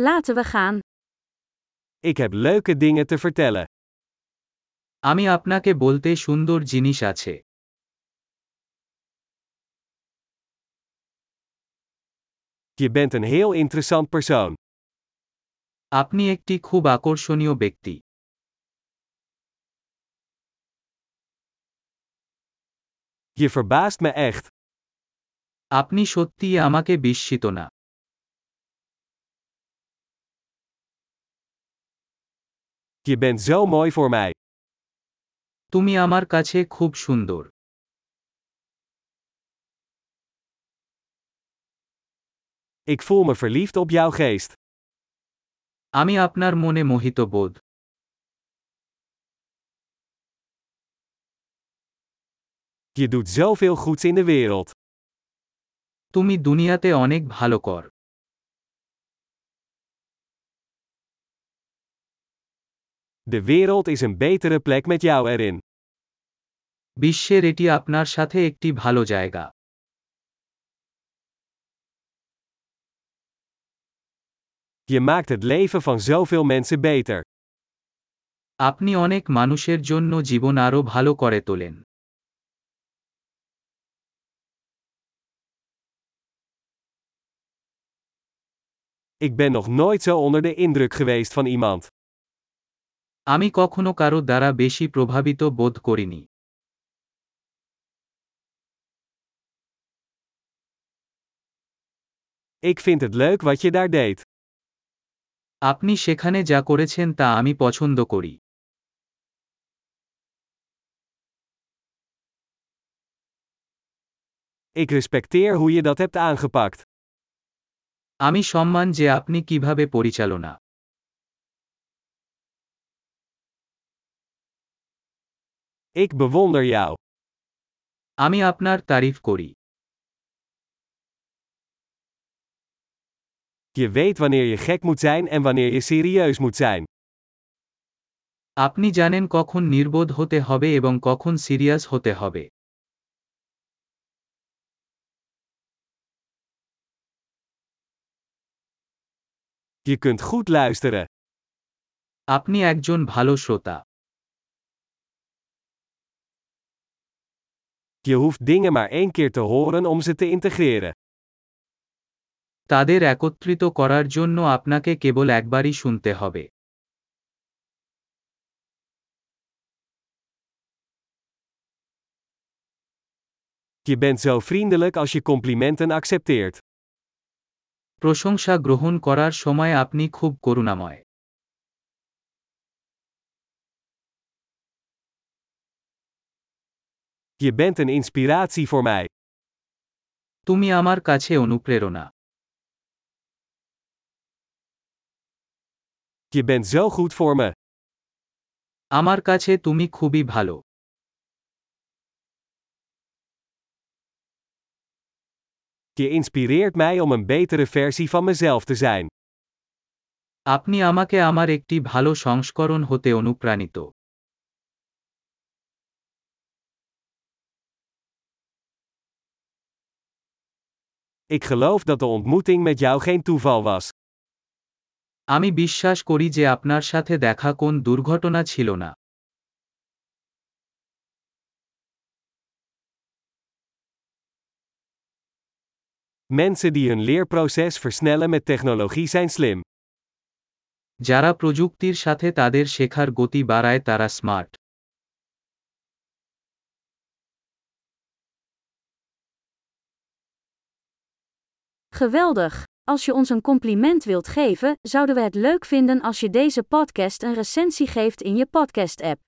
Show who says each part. Speaker 1: Laten we gaan.
Speaker 2: Ik heb leuke dingen te vertellen.
Speaker 3: আমি আপনাকে বলতে সুন্দর জিনিস আছে
Speaker 2: Je bent een heel interessant persoon.
Speaker 3: আপনি একটি খুব আকর্ষণীয় ব্যক্তি
Speaker 2: Je verbaast me echt.
Speaker 3: আপনি সত্যিই আমাকে বিস্মিত না
Speaker 2: Je bent zo mooi voor mij.
Speaker 3: তুমি আমার কাছে খুব সুন্দর
Speaker 2: Ik voel me verliefd op jouw geest.
Speaker 3: আমি আপনার মনে মোহিত বোধ
Speaker 2: Je doet zoveel goeds in de wereld.
Speaker 3: তুমি দুনিয়াতে অনেক ভালো কর
Speaker 2: De wereld is een betere plek met jou erin.
Speaker 3: বিশ্বের এটি আপনার সাথে একটি ভালো জায়গা
Speaker 2: Je maakt het leven van zoveel mensen beter.
Speaker 3: আপনি অনেক মানুষের জন্য জীবন আরও ভালো করে তোলেন
Speaker 2: Ik ben nog nooit zo onder de indruk geweest van iemand.
Speaker 3: আমি কখনো কারো দ্বারা বেশি প্রভাবিত বোধ করিনি
Speaker 2: Ik vind het leuk wat je daar deed.
Speaker 3: আপনি সেখানে যা করেছেন তা আমি পছন্দ করি
Speaker 2: Ik respecteer hoe je dat hebt aangepakt.
Speaker 3: আমি সম্মান যে আপনি কিভাবে পরিচালনা
Speaker 2: Ik bewonder jou.
Speaker 3: আমি আপনার তারিফ করি
Speaker 2: Je weet wanneer je gek moet zijn en wanneer je serieus moet zijn.
Speaker 3: আপনি জানেন কখন নির্বোধ হতে হবে এবং কখন সিরিয়াস হতে হবে
Speaker 2: Je kunt goed luisteren.
Speaker 3: আপনি একজন ভালো শ্রোতা
Speaker 2: Je hoeft dingen maar één keer te horen om ze te integreren.
Speaker 3: তাদের একত্রিত করার জন্য আপনাকে কেবল একবারই শুনতে হবে
Speaker 2: Je bent zo vriendelijk als je complimenten accepteert.
Speaker 3: প্রশংসা গ্রহণ করার সময় আপনি খুব করুণাময়
Speaker 2: Je bent een inspiratie voor mij.
Speaker 3: তুমি আমার কাছে অনুপ্রেরণা
Speaker 2: Je bent zo goed voor me.
Speaker 3: আমার কাছে তুমি খুবই ভালো
Speaker 2: Je inspireert mij om een betere versie van mezelf te zijn.
Speaker 3: আপনি আমাকে আমার একটি ভালো সংস্করণ হতে অনুপ্রাণিত
Speaker 2: Ik geloof dat de ontmoeting met jou geen toeval was.
Speaker 3: আমি বিশ্বাস করি যে আপনার সাথে দেখা কোন দুর্ঘটনা ছিল না
Speaker 2: Mensen die hun leerproces versnellen met technologie zijn slim.
Speaker 3: যারা প্রযুক্তির সাথে তাদের শেখার গতি বাড়ায় তারা smart
Speaker 1: Geweldig! Als je ons een compliment wilt geven, zouden we het leuk vinden als je deze podcast een recensie geeft in je podcast-app.